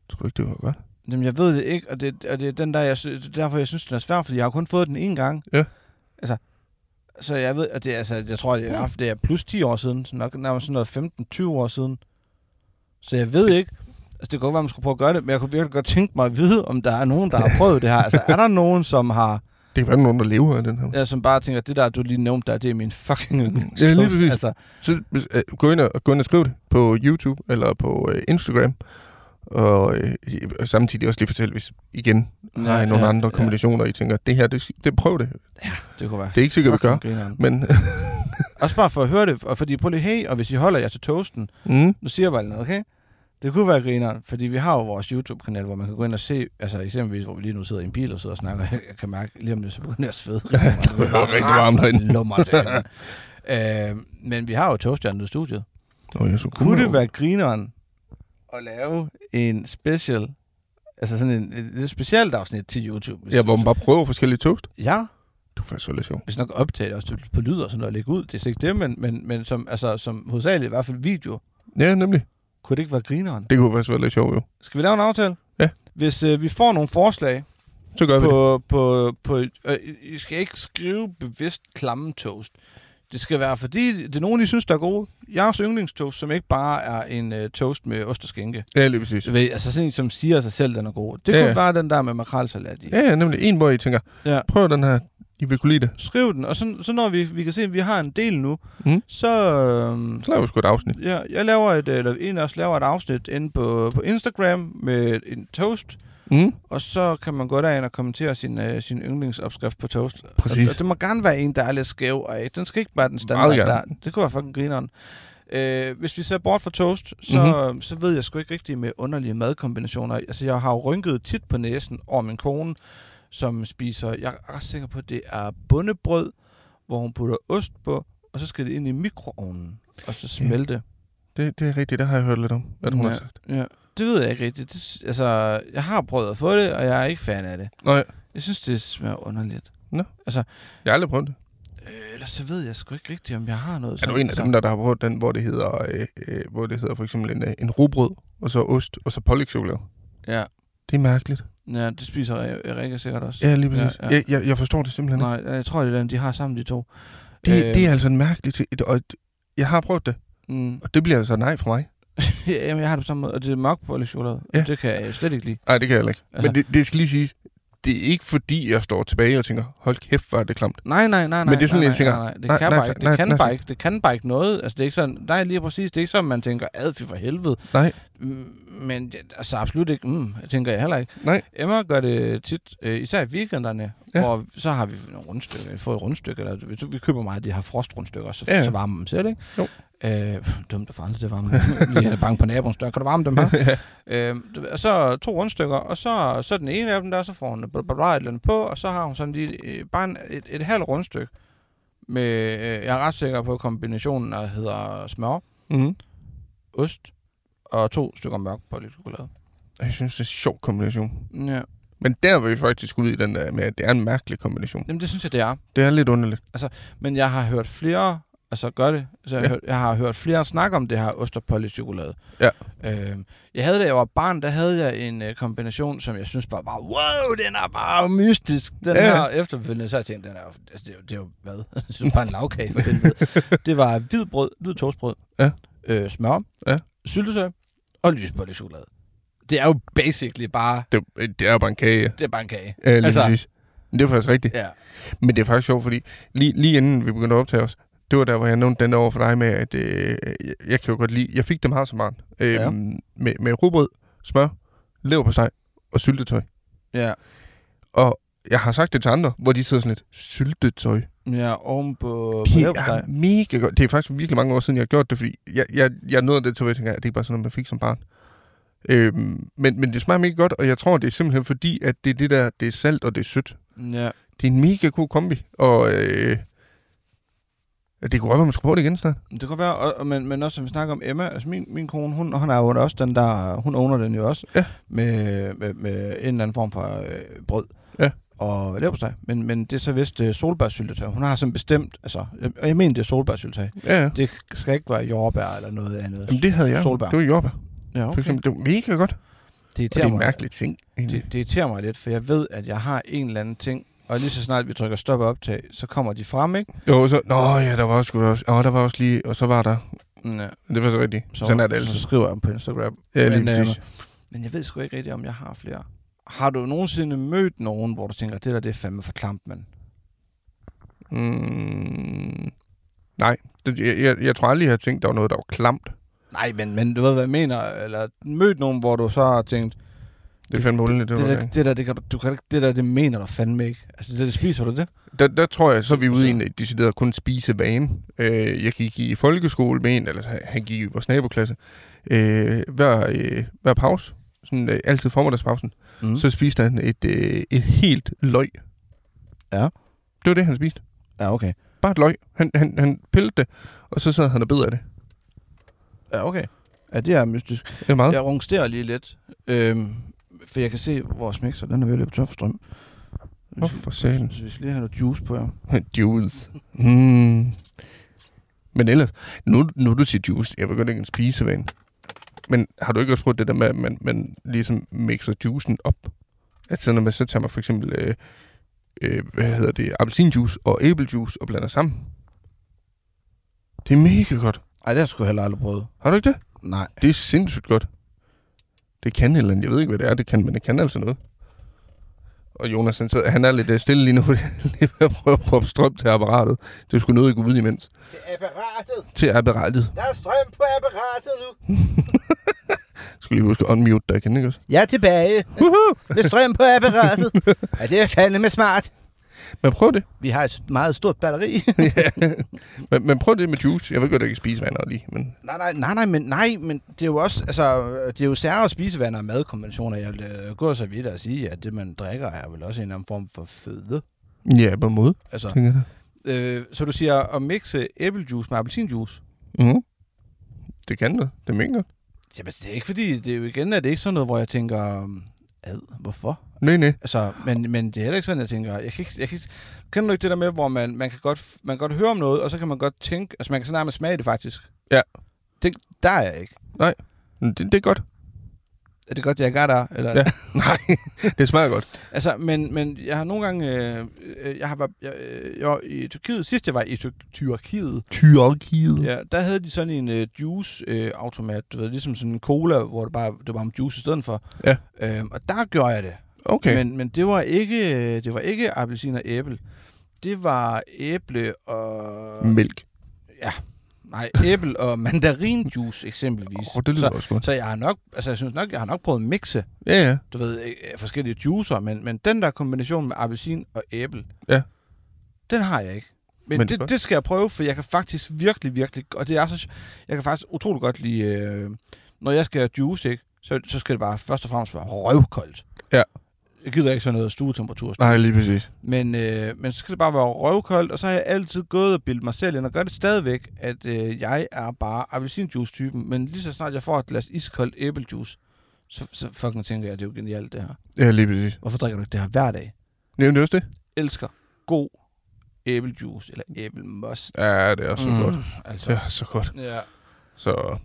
S2: Tror du ikke, det var godt?
S1: Jamen, jeg ved det ikke, og det, og det er den der, jeg, sy- det er derfor, jeg synes, den er svær, fordi jeg har kun fået den én gang.
S2: Ja.
S1: Altså, så jeg ved, og det, er, altså, jeg tror, det er, det er plus 10 år siden, så nok nærmest sådan noget 15-20 år siden. Så jeg ved ikke, altså det kan godt være, man skulle prøve at gøre det, men jeg kunne virkelig godt tænke mig at vide, om der er nogen, der har prøvet det her. Altså, er der nogen, som har,
S2: Det kan være der er nogen, der lever af den her. Ja.
S1: ja, som bare tænker, det der, du lige nævnte der, det er min fucking yndlings-
S2: Ja, lige præcis.
S1: Altså,
S2: Så hvis, øh, gå, ind og, gå ind og skriv det på YouTube eller på øh, Instagram. Og, øh, og samtidig også lige fortælle, hvis igen har I nogle andre kombinationer, I tænker, det her, det, det prøv det.
S1: Det kunne være
S2: Det er ikke sikkert, vi gør.
S1: fucking grineren.
S2: Men
S1: Også bare for at høre det, og fordi prøv lige, hey, og hvis I holder jer til toasten,
S2: mm,
S1: Nu siger jeg bare lige noget, okay? Det kunne være grineren, fordi vi har jo vores YouTube-kanal, hvor man kan gå ind og se, altså eksempelvis, hvor vi lige nu sidder i en bil og sidder og snakker, jeg kan mærke lige om lidt, så begynder jeg at svede. det
S2: var rigtig varmt derinde.
S1: derinde. øh, men vi har jo toastjernet i studiet.
S2: Nå, jeg så
S1: Kunne det være grineren at lave en special, altså sådan en, et lidt specielt afsnit til YouTube? hvis
S2: Ja,
S1: det-
S2: hvor man bare prøver forskellige toast.
S1: ja,
S2: Det var faktisk så lidt sjovt.
S1: hvis nok optage det også til- på lyd og sådan noget og lægge ud, det er slet ikke det, men, men, men som, altså, som hovedsageligt i hvert fald video,
S2: Ja, nemlig.
S1: kunne det ikke være grineren?
S2: Det kunne faktisk være lidt sjovt, jo.
S1: Skal vi lave en aftale?
S2: Ja.
S1: Hvis øh, vi får nogle forslag
S2: Så gør vi det.
S1: på... på, på øh, I skal ikke skrive bevidst klamme toast. Det skal være, fordi det er nogen, I synes, der er gode. Jeres yndlingstoast, som ikke bare er en øh, toast med ost og skænke.
S2: Ja, lige præcis.
S1: Så ved, I, altså sådan en, som siger sig selv, den er god. Det
S2: Ja,
S1: ja. kunne
S2: ja.
S1: være den der med makrelsalat i. Ja.
S2: Ja, ja, nemlig. En, hvor I tænker,
S1: Ja.
S2: ja. prøv den her. I vil kunne lide det.
S1: Skriv den, og så, så når vi, vi kan se, at vi har en del nu,
S2: Mm.
S1: så... Øh,
S2: Så laver vi sgu et afsnit.
S1: ja, jeg laver et, eller en af os laver et afsnit inde på, på Instagram med en toast,
S2: Mm.
S1: Og så kan man gå derind og kommentere sin, øh, sin yndlingsopskrift på toast.
S2: Præcis.
S1: Og, og det må gerne være en, der er lidt skæv, og ikke- den skal ikke være den standard
S2: Meget gerne.
S1: der. Det kunne være fucking grineren. Øh, hvis vi ser bort fra toast, så,
S2: Mhm.
S1: mm-hmm. så ved jeg sgu ikke rigtigt med underlige madkombinationer. Altså, jeg har jo rynket tit på næsen over min kone, som spiser, jeg er ret sikker på, at det er bundebrød, hvor hun putter ost på, og så skal det ind i mikroovnen, og så smelte.
S2: Det, det er rigtigt, det har jeg hørt lidt om, at hun
S1: Ja.
S2: har sagt.
S1: Ja. Det ved jeg ikke rigtigt. Det, altså, jeg har prøvet at få det, og jeg er ikke fan af det.
S2: Nej,
S1: Jeg synes, det smager underligt.
S2: jeg har aldrig prøvet det.
S1: Øh, ellers så ved jeg sgu ikke rigtigt, om jeg har noget.
S2: Er du en af dem, der, der har prøvet den, hvor det hedder, øh, øh, hvor det hedder for eksempel en, øh, en rugbrød, og så ost, og så pålægtschokolade?
S1: Ja,
S2: Det er mærkeligt.
S1: ja det spiser Ri- Rikke sikkert også.
S2: Ja, lige præcis.
S1: Ja,
S2: Ja,
S1: ja.
S2: ja. Jeg, jeg, jeg forstår det simpelthen ikke.
S1: Nej, jeg tror, det er dem, de har sammen, de to.
S2: Det,
S1: Øh.
S2: øh... det er altså en mærkelig ting. Og et- jeg har prøvet det,
S1: Mm.
S2: og det bliver altså nej for mig.
S1: ja, jamen, jeg har det på samme måde. Og det er mørk på chokolade.
S2: Ja.
S1: Det kan jeg slet ikke lide.
S2: Nej, det kan jeg heller ikke. Altså...
S1: Altså-
S2: Men det, det skal lige siges, det er ikke fordi, jeg står tilbage og tænker, hold kæft, hvor er det klamt.
S1: Nej, nej, nej, nej.
S2: Men det er sådan,
S1: nej,
S2: jeg tænker,
S1: nej, nej, det
S2: nej,
S1: kan
S2: nej,
S1: bare ikke.
S2: nej,
S1: Det kan
S2: nej,
S1: bare
S2: tak.
S1: ikke. Det kan bare ikke noget. Altså, det er ikke sådan, nej, lige præcis. Det er ikke sådan, man tænker, ad, fy for helvede.
S2: Nej.
S1: Mm, Men ja, altså absolut ikke, mm, jeg tænker jeg heller ikke.
S2: Nej.
S1: Emma gør det tit, øh, især i weekenderne, ja.
S2: Ja.
S1: hvor så har vi nogle rundstykker, fået et rundstykke, eller vi, vi køber meget af de her frostrundstykker, så, ja.
S2: Ja.
S1: så varmer man selv, ikke?
S2: Jo.
S1: Øh, dumt at farligt, det varmer Lige er bange på naboens dør, kan du varme dem her? øh, du ved, og så to rundstykker, og så, så den ene af dem der, så får hun bla, bla, bla, et eller andet på, og så har hun sådan lige øh, bare en, et, et halvt rundstykke med, øh, jeg er ret sikker på kombinationen, der hedder smør,
S2: Mm-hmm.
S1: ost og to stykker mørk chokolade.
S2: Jeg synes, det er en sjov kombination.
S1: Ja.
S2: Men der var vi faktisk ude i den der med, at det er en mærkelig kombination.
S1: Jamen, det synes jeg, det er.
S2: Det er lidt underligt.
S1: Men jeg har hørt flere, altså gør det, så jeg,
S2: Ja.
S1: ja. hørt, jeg har hørt flere snakke om det her ost og Polly chokolade.
S2: Ja.
S1: Øhm, jeg havde, da jeg var barn, der havde jeg en øh, kombination, som jeg synes bare var, wow, den er bare mystisk. Den ja.
S2: Ja.
S1: her efterfølgende, så har jeg tænkt, den er, jo- altså, det, er jo, det er jo hvad? det er jo bare en lavkage for helvede. det var hvid brød, hvid toastbrød,
S2: Ja.
S1: øh, smør,
S2: Ja.
S1: syltetøj og lys chokolade. Det er jo basically bare,
S2: Det, er- det er jo bare en kage.
S1: det er bare en kage.
S2: Ja, lige altså...
S1: Altså-
S2: præcis. Men det er faktisk rigtigt.
S1: Ja.
S2: Men det er faktisk sjovt, fordi lige, lige inden vi begyndte at optage os, Det var der, hvor jeg nævnte den over for dig med, at øh, jeg, jeg kan jo godt lide... Jeg fik dem her som barn. Øh,
S1: Ja.
S2: ja. med, med rugbrød, smør, leverpostej og syltetøj.
S1: Ja,
S2: Og jeg har sagt det til andre, hvor de sidder sådan lidt, syltetøj.
S1: ja oven på, på
S2: Det
S1: leverpostej.
S2: er mega godt. Det er faktisk virkelig mange år siden, jeg har gjort det, fordi jeg, jeg, jeg nåede det til, at jeg tænker, at det er bare sådan noget, man fik som barn. Øhm, men, men det smager mega godt, og jeg tror, det er simpelthen fordi, at det er det der, det er salt og det er sødt.
S1: Ja.
S2: Det er en mega god kombi, og øh, det kunne godt være, man skulle prøve det igen snart.
S1: Det kan være, og, og- men, men også som vi snakker om Emma, altså min, min kone, hun, hun har jo også den der, hun owner den jo også,
S2: Ja.
S1: med, med, med en eller anden form for øh, brød.
S2: Ja.
S1: Og leverpostej. Men, men det er så vist øh, solbærsyltetøj. Hun har sådan bestemt, altså, jeg, jeg mener, det er solbærsyltetøj.
S2: Ja, ja.
S1: Det skal ikke være jordbær eller noget andet.
S2: Jamen, det havde jeg.
S1: Solbær.
S2: Det var jordbær,
S1: ja,
S2: for eksempel. Det var mega godt, og
S1: Det
S2: det
S1: irriterer
S2: er en
S1: mig.
S2: mærkelig ting. egentlig.
S1: Det, det irriterer mig lidt, for jeg ved, at jeg har en eller anden ting, og lige så snart vi trykker stop og optag, så kommer de frem, ikke?
S2: Jo, så, nå ja, der var også, også, åh, der var også lige, og så var der,
S1: Mm, Ja,
S2: det var så rigtigt. Så, Sådan er det altid.
S1: Så skriver jeg dem på Instagram.
S2: Ja, lige
S1: Men, øh,
S2: præcis.
S1: Men jeg ved sgu ikke rigtigt, om jeg har flere. Har du nogensinde mødt nogen, hvor du tænker, det der det er fandme for klamt, mand?
S2: Mm, nej, det, jeg, jeg, jeg tror aldrig, jeg har tænkt, der var noget, der var klamt.
S1: Nej, men, men du ved, hvad jeg mener. Eller mødt nogen, hvor du så har tænkt, det,
S2: Det fandt muligt. Det,
S1: det,
S2: det,
S1: der,
S2: det,
S1: det, der, det, kan du, du kan, ikke- det der, det mener du fandme ikke. Altså, det der, det spiser du det?
S2: der, der tror jeg, så er vi ude i en decideret kun spise vane. Øh, jeg gik i folkeskole med en, eller han- han gik i vores naboklasse. Øh, hver, øh, hver pause, sådan, øh, altid formiddagspausen,
S1: Mm.
S2: mm. så spiste han et, øh, et helt løg.
S1: Ja.
S2: Det var det, han spiste.
S1: Ja, okay.
S2: Bare et løg. Han, han, han pillede det, og så sad han og bed af det.
S1: Ja, okay. Ja, det er mystisk.
S2: Det er meget. Ja.
S1: Jeg rungsterer lige lidt, øhm, for jeg kan se, at vores mixer, den er ved at løbe tør for strøm.
S2: Nå, for satan.
S1: Så vi skal lige have noget juice på her.
S2: juice. Mm. Men ellers, nu, nu du siger juice, jeg begynder ikke en spisevane. Men har du ikke også prøvet det der med, at man, man ligesom mixer juicen op? At så når man så tager man for eksempel, øh, øh, hvad hedder det, appelsinjuice og æblejuice og blander sammen. Det er mega godt.
S1: Ej, det har jeg sgu heller aldrig prøvet.
S2: Har du ikke det?
S1: Nej.
S2: Det er sindssygt godt. Det kan et eller andet. Jeg ved ikke, hvad det er, det kan, men det kan altså noget. Og Jonas, han, sidder, han er lidt øh, stille lige nu, fordi han lige ved at prøve at råbe strøm til apparatet. Det skulle noget ikke ud imens.
S3: Til apparatet.
S2: Til apparatet.
S3: Der er strøm på apparatet nu.
S2: Jeg skulle lige huske at unmute dig, kan ikke også?
S3: Jeg er tilbage
S2: Woohoo!
S3: med strøm på apparatet. Ja, det er fandeme smart.
S2: Men prøv det.
S3: Vi har et meget stort batteri.
S2: Men, men prøv det med juice. Jeg ved godt, at jeg ikke spise vand lige, men
S1: Nej, nej, nej, nej, men, nej, men det er jo også, altså, det er jo særre spisevaner og madkonventioner. Jeg vil øh, gå så vidt og sige, at det, man drikker, er vel også en eller anden form for føde.
S2: ja, på en måde,
S1: Altså,
S2: tænker jeg.
S1: øh, så du siger at mixe æblejuice med appelsinjuice?
S2: Mm. Det kan noget. Det mener godt.
S1: Jamen, det er ikke fordi, det er jo igen, at det er ikke sådan noget, hvor jeg tænker, øhm, ad, hvorfor?
S2: Nej, nej.
S1: Altså, men, men det er heller ikke sådan, jeg tænker, jeg kan ikke, jeg kan ikke, kender du ikke det der med, hvor man, man, kan godt, man kan godt høre om noget, og så kan man godt tænke, altså man kan så nærmest smage det faktisk.
S2: Ja.
S1: Det, der er jeg ikke.
S2: Men Det, det er godt.
S1: Er det godt, jeg ikke er der? Eller,
S2: Ja. Nej, det smager godt.
S1: Altså, men, men jeg har nogle gange... Øh, øh, jeg, har været, jeg, øh, jeg var i Tyrkiet. Sidst jeg var i Tyr- Tyrkiet,
S2: Tyrkiet. Ja.
S1: ja, der havde de sådan en øh, juice-automat. du ved, ligesom sådan en cola, hvor det bare det var om juice i stedet for.
S2: Ja.
S1: Øhm, og der gjorde jeg det.
S2: Okay. Men...
S1: Men, men det var ikke øh, det var ikke appelsin og æble. Det var æble og...
S2: Mælk.
S1: Nej, æble og mandarinjuice eksempelvis.
S2: Åh, oh, det lyder
S1: så,
S2: også godt.
S1: så jeg har nok, altså jeg synes nok, jeg har nok prøvet at mixe
S2: Ja, ja.
S1: du ved, øh, forskellige juicer, men, men den der kombination med appelsin og æble,
S2: Ja.
S1: den har jeg ikke.
S2: Men
S1: Men, men
S2: godt.
S1: det, det skal jeg prøve, for jeg kan faktisk virkelig, virkelig, og det er så, jeg kan faktisk utrolig godt lide, øh, når jeg skal have juice, ikke, så, så skal det bare først og fremmest være røvkoldt.
S2: Ja.
S1: Jeg gider ikke sådan noget stuetemperatur.
S2: Nej, lige præcis.
S1: Men, øh, men så skal det bare være røvkoldt, og så har jeg altid gået og bildt mig selv ind, og gør det stadigvæk, at øh, jeg er bare appelsinjuice-typen, men lige så snart jeg får et glas iskoldt æblejuice, så, så fucking tænker jeg, at det er jo genialt det her.
S2: Ja, lige præcis.
S1: Hvorfor drikker du ikke det her hver dag?
S2: Nævnte du også det?
S1: Elsker god æblejuice eller æblemost.
S2: Ja, det er også mm. godt.
S1: Altså.
S2: Det er så godt.
S1: Ja.
S2: Så...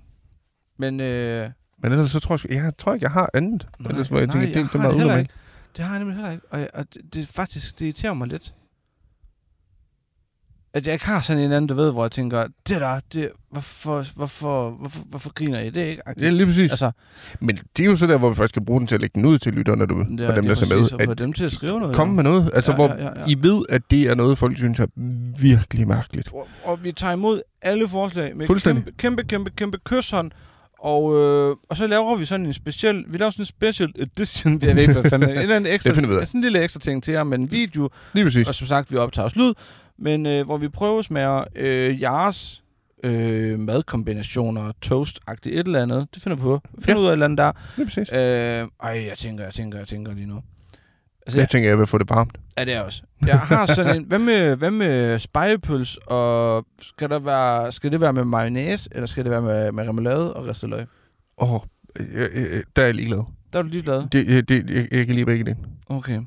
S1: Men øh,
S2: Men ellers så tror jeg, sgu- jeg tror ikke, jeg har andet. Nej, ellers hvor jeg
S1: nej,
S2: tænker, det, det er
S1: har
S2: meget
S1: heller
S2: unormalt.
S1: ikke. Det har jeg nemlig heller ikke. Og, jeg, og det, det, er faktisk, det irriterer mig lidt. at jeg ikke har sådan en anden, du ved, hvor jeg tænker, det der, det, hvorfor, hvorfor, hvorfor, hvorfor griner I det, ikke?
S2: Det er lige præcis. Altså,
S1: Altså,
S2: Men det er jo så der, hvor vi faktisk skal bruge den til at lægge den ud til lytterne derude,
S1: det
S2: ja,
S1: er-
S2: og dem,
S1: det
S2: der
S1: er
S2: ser
S1: præcis, og
S2: med.
S1: få
S2: At
S1: dem til at skrive noget.
S2: komme
S1: jo.
S2: med noget, altså
S1: Ja,
S2: hvor
S1: ja, ja, ja.
S2: I ved, at det er noget, folk synes er virkelig mærkeligt.
S1: Og, og vi tager imod alle forslag med
S2: Fuldstændig.
S1: kæmpe, kæmpe, kæmpe, kæmpe kysshånd. Og, øh, og så laver vi sådan en speciel, vi laver sådan en special edition, jeg ved ikke, hvad fanden, en eller anden ekstra,
S2: Det finder vi ud af.
S1: sådan en lille ekstra ting til jer, med en video,
S2: Lige præcis.
S1: og som sagt, vi optager også lyd, men øh, hvor vi prøves med øh, jeres øh, madkombinationer, toast-agtigt et eller andet, det finder vi på, vi finder
S2: Ja.
S1: ud af et eller andet der.
S2: Lige præcis.
S1: Øh, ej, jeg tænker, jeg tænker, jeg tænker lige nu. Altså,
S2: Jeg tænker, jeg vil få det varmt.
S1: Ja, det er jeg også. Jeg har sådan en... Hvad med, hvad med spejepøls, og skal, der være, skal det være med mayonnaise, eller skal det være med, med remoulade og ristet løg?
S2: Åh, øh, øh, der er jeg ligeglad.
S1: Der er du lige glad.
S2: Det, øh, det, jeg, jeg kan lide begge dele.
S1: Okay.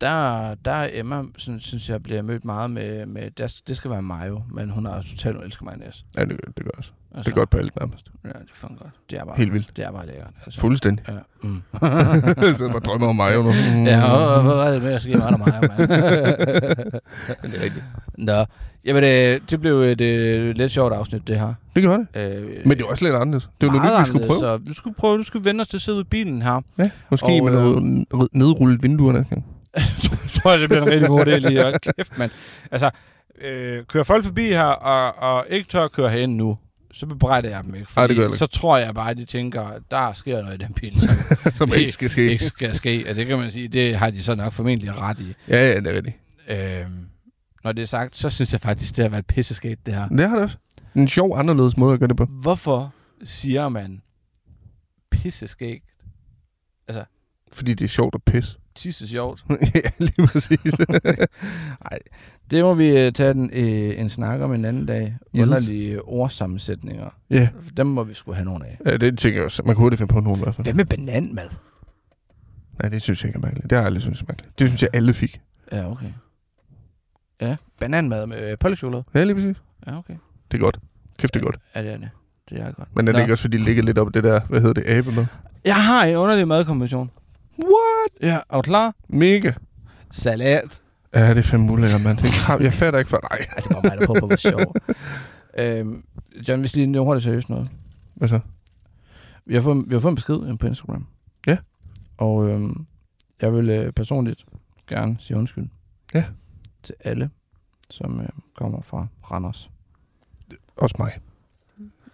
S1: Der, der er Emma, synes, synes jeg, bliver mødt meget med... med der, det skal være mayo, men hun har totalt elsket mayonnaise.
S2: Ja, det, gør- det gør jeg også.
S1: Altså,
S2: Det er godt på alt nærmest.
S1: Ja, det er fucking godt. Det er bare,
S2: Helt vildt.
S1: det er bare lækkert. Altså.
S2: Fuldstændig.
S1: Ja. Mm.
S2: jeg sidder bare og drømmer om mig nu. Mm.
S1: ja, og, og, hvad var det med at skrive meget om mayo, mand?
S2: Men det er rigtigt.
S1: Nå, jamen det, det blev et øh, lidt sjovt afsnit, det her.
S2: Det gør det.
S1: Øh,
S2: Men det er også lidt anderledes. Det er jo noget, nyt, vi skulle prøve.
S1: Så du skulle prøve, du skulle vende os til at sidde i bilen her.
S2: Ja, måske
S1: Og,
S2: med
S1: øh,
S2: noget øh, nedrullet vinduer næste gang.
S1: Så tror jeg, det bliver en rigtig god idé lige. Hold kæft, mand. Altså, øh, kører folk forbi her, og, og ikke tør at køre herinde nu, så bebrejder jeg dem ikke.
S2: Ej, det
S1: fordi
S2: gør jeg ikke.
S1: så tror jeg bare, at de tænker, der sker noget i den bil, som
S2: Som ikke skal ske.
S1: ikke skal ske. Og det kan man sige, det har de så nok formentlig ret i.
S2: Ja, ja, det er rigtigt.
S1: Øh, når det er sagt, så synes jeg faktisk, det har været pisseskægt, det her.
S2: Det har det også. En sjov, anderledes måde at gøre det på.
S1: Hvorfor siger man pisseskægt?
S2: Fordi det er sjovt at pisse.
S1: Tisse sjovt.
S2: ja, lige præcis.
S1: Nej, det må vi øh, tage den, øh, en snak om en anden dag.
S2: Yes.
S1: Yes. Underlige ordsammensætninger.
S2: ja.
S1: Dem må vi skulle have nogle af.
S2: ja, det tænker jeg også. Man kunne hurtigt finde på nogen i hvert fald.
S1: Hvad med bananmad?
S2: Nej, det synes jeg ikke er mærkeligt. Det har jeg aldrig synes er mærkeligt. Det synes jeg alle fik.
S1: Ja, okay. Ja, bananmad med øh, pålægtschokolade.
S2: Ja, lige præcis.
S1: Ja, okay.
S2: Det er godt. Kæft, det er godt.
S1: Ja, det er det. Det er godt.
S2: Men er det
S1: Nå.
S2: ikke også, fordi det ligger lidt op af det der, hvad hedder det, abe med?
S1: Jeg har en underlig madkombination.
S2: What?
S1: Ja, er du klar?
S2: Mega.
S1: Salat.
S2: Ja, det er fandme ulækkert, mand. Det er krav. Jeg fatter ikke for dig.
S1: Ej, det var mig, der på, på hvor sjov. øhm, John, hvis lige nu hurtigt seriøst noget.
S2: Hvad så?
S1: Vi har fået, vi har fået en besked øh, på Instagram.
S2: Ja.
S1: Og øhm, jeg vil øh, personligt gerne sige undskyld.
S2: Ja.
S1: Til alle, som øh, kommer fra Randers.
S2: Også mig.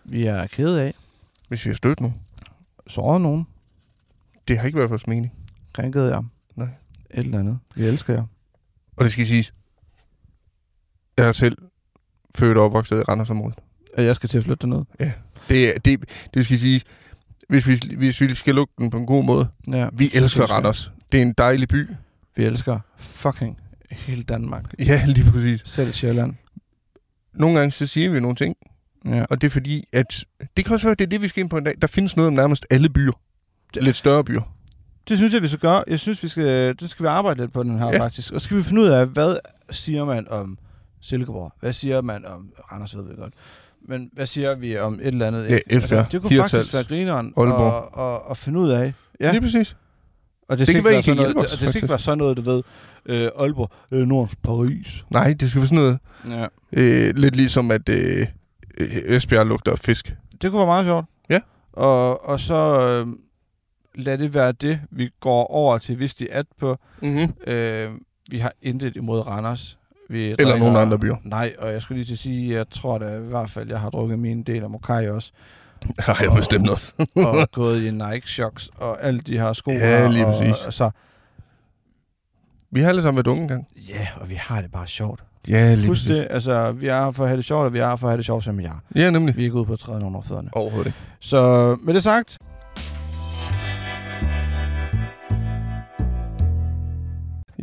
S1: Vi er kede af,
S2: Hvis vi har stødt nogen.
S1: såret nogen,
S2: Det har ikke været vores mening.
S1: krænket jer.
S2: Nej.
S1: Et eller andet. Vi elsker jer.
S2: Og det skal siges. Jeg er selv født og opvokset i Randersområdet.
S1: Og jeg skal til at flytte derned.
S2: Det, er- det, det skal siges. Hvis vi, hvis vi skal lukke den på en god måde.
S1: Ja,
S2: Vi elsker Randers. Det er en dejlig by.
S1: Vi elsker fucking hele Danmark.
S2: Ja, lige præcis.
S1: Selv Sjælland.
S2: Nogle gange så siger vi nogle ting,
S1: Ja.
S2: og det er fordi, at... Det kan også være, at det er det, vi skal ind på en dag. Der findes noget om nærmest alle byer. Lidt større byer.
S1: Det synes jeg, vi skal gøre. Jeg synes, vi skal, det skal vi arbejde lidt på den her,
S2: Ja.
S1: ja. faktisk. Og så skal vi finde ud af, hvad siger man om Silkeborg? Hvad siger man om... Anders ved det godt. Men hvad siger vi om et eller andet?
S2: Ja,
S1: ikke?
S2: Esbjerg,
S1: det kunne
S2: Hirtshals,
S1: faktisk være grineren
S2: Aalborg.
S1: og, og, og finde ud af. Ja.
S2: Lige præcis.
S1: Og
S2: kan
S1: det, skal ikke
S2: være, I kan
S1: være sådan noget,
S2: hjælpe os,
S1: og det skal ikke
S2: faktisk.
S1: være sådan noget, du ved. Øh, Aalborg, øh, Nordens Paris.
S2: Nej, det skal være sådan noget...
S1: Ja.
S2: Øh, lidt ligesom, at øh, øh, Esbjerg lugter af fisk.
S1: Det kunne være meget sjovt.
S2: Ja.
S1: Og, og så øh, lad det være det, vi går over til Visti at på.
S2: Mm-hmm.
S1: Øh, vi har intet imod Randers. Vi
S2: Eller nogen andre byer.
S1: Nej, og jeg skulle lige til at sige, jeg tror da i hvert fald, jeg har drukket min del af Mokai også,
S2: Har jeg bestemt også.
S1: og gået i Nike Shocks og alle de her sko.
S2: Ja,
S1: her,
S2: lige
S1: og,
S2: præcis.
S1: Og, så,
S2: Vi har alle sammen været unge engang.
S1: ja, og vi har det bare sjovt.
S2: Ja, lige
S1: Husk det, altså, vi er her for at have det sjovt, og vi er her for at have det sjovt som jeg.
S2: Ja, nemlig.
S1: Vi er ikke ude på at træde nogen over fødderne.
S2: Overhovedet ikke.
S1: Så med det sagt,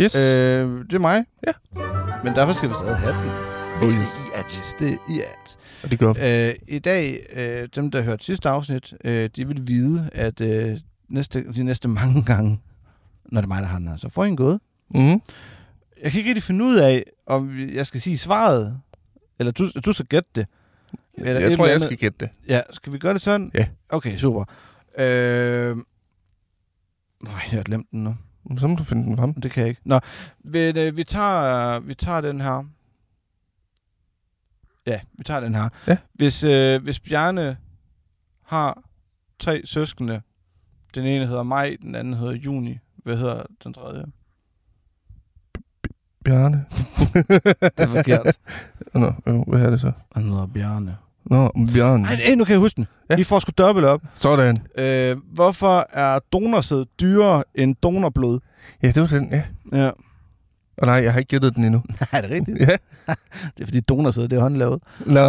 S2: Yes. Øh,
S1: øh, det er mig.
S2: Ja.
S1: Men derfor skal vi stadig have den.
S2: Hvis det
S1: i at. Hvis det i at.
S2: og det gør vi.
S1: Øh, I dag, øh, dem der hørte sidste afsnit, øh, de vil vide, at øh, næste, de næste mange gange, når det er mig, der har den her, så får I en gåde.
S2: Mm-hmm.
S1: Jeg kan ikke rigtig finde ud af, om vi- jeg skal sige svaret, eller du, du skal gætte det. Eller
S2: Jeg
S1: et
S2: tror,
S1: eller
S2: jeg
S1: andet.
S2: skal gætte det.
S1: Ja, skal vi gøre det sådan?
S2: Ja.
S1: Okay, super. Øh, nej, jeg har glemt den nu.
S2: Så må du finde den frem.
S1: Det kan jeg ikke. Nå, men, øh, vi, tager, vi tager den her. Ja, vi tager den her.
S2: Ja.
S1: Hvis, øh, hvis Bjarne har tre søskende, den ene hedder Maj, den anden hedder Juni, hvad hedder den tredje?
S2: Bjarne.
S1: Det er forkert.
S2: Nå, jo, hvad er det så?
S1: Han hedder Bjarne.
S2: Nå, Bjarne.
S1: Ej, nej, nu kan jeg huske den. Ja.
S2: Ja.
S1: Vi får sgu dobbelt op.
S2: Sådan.
S1: Øh, hvorfor er donorsæd dyrere end donorblod?
S2: Ja, det var den, ja.
S1: Ja.
S2: Og nej, jeg har ikke gættet den endnu.
S1: Er det rigtigt?
S2: Ja.
S1: Det er fordi donorsæd, det er håndlavet.
S2: Nå.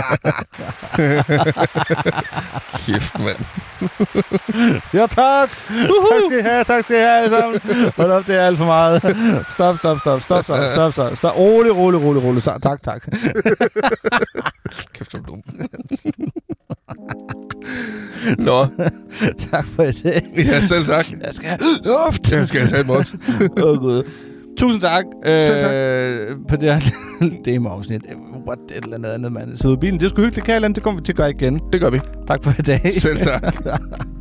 S2: Kæft, mand.
S1: Ja, tak! Tak skal I have, tak skal I have alle sammen. Hold op, det er alt for meget. Stop, stop, stop, stop, stop, stop, stop. stop. Rolig, rolig, rolig, rolig. Så- Tak, tak.
S2: Kæft, du er dum. Nå,
S1: tak for i dag.
S2: ja, selv tak.
S1: Jeg skal have luft!
S2: Det skal jeg selv også.
S1: Åh, oh, Gud. Tusind tak,
S2: Selv
S1: øh, på det her demo-afsnit. What, et eller andet andet, mand. Sidde i bilen, det er sgu hyggeligt, Kærland. Det kommer vi til at gøre igen.
S2: Det gør vi.
S1: Tak for i dag.
S2: Selv tak.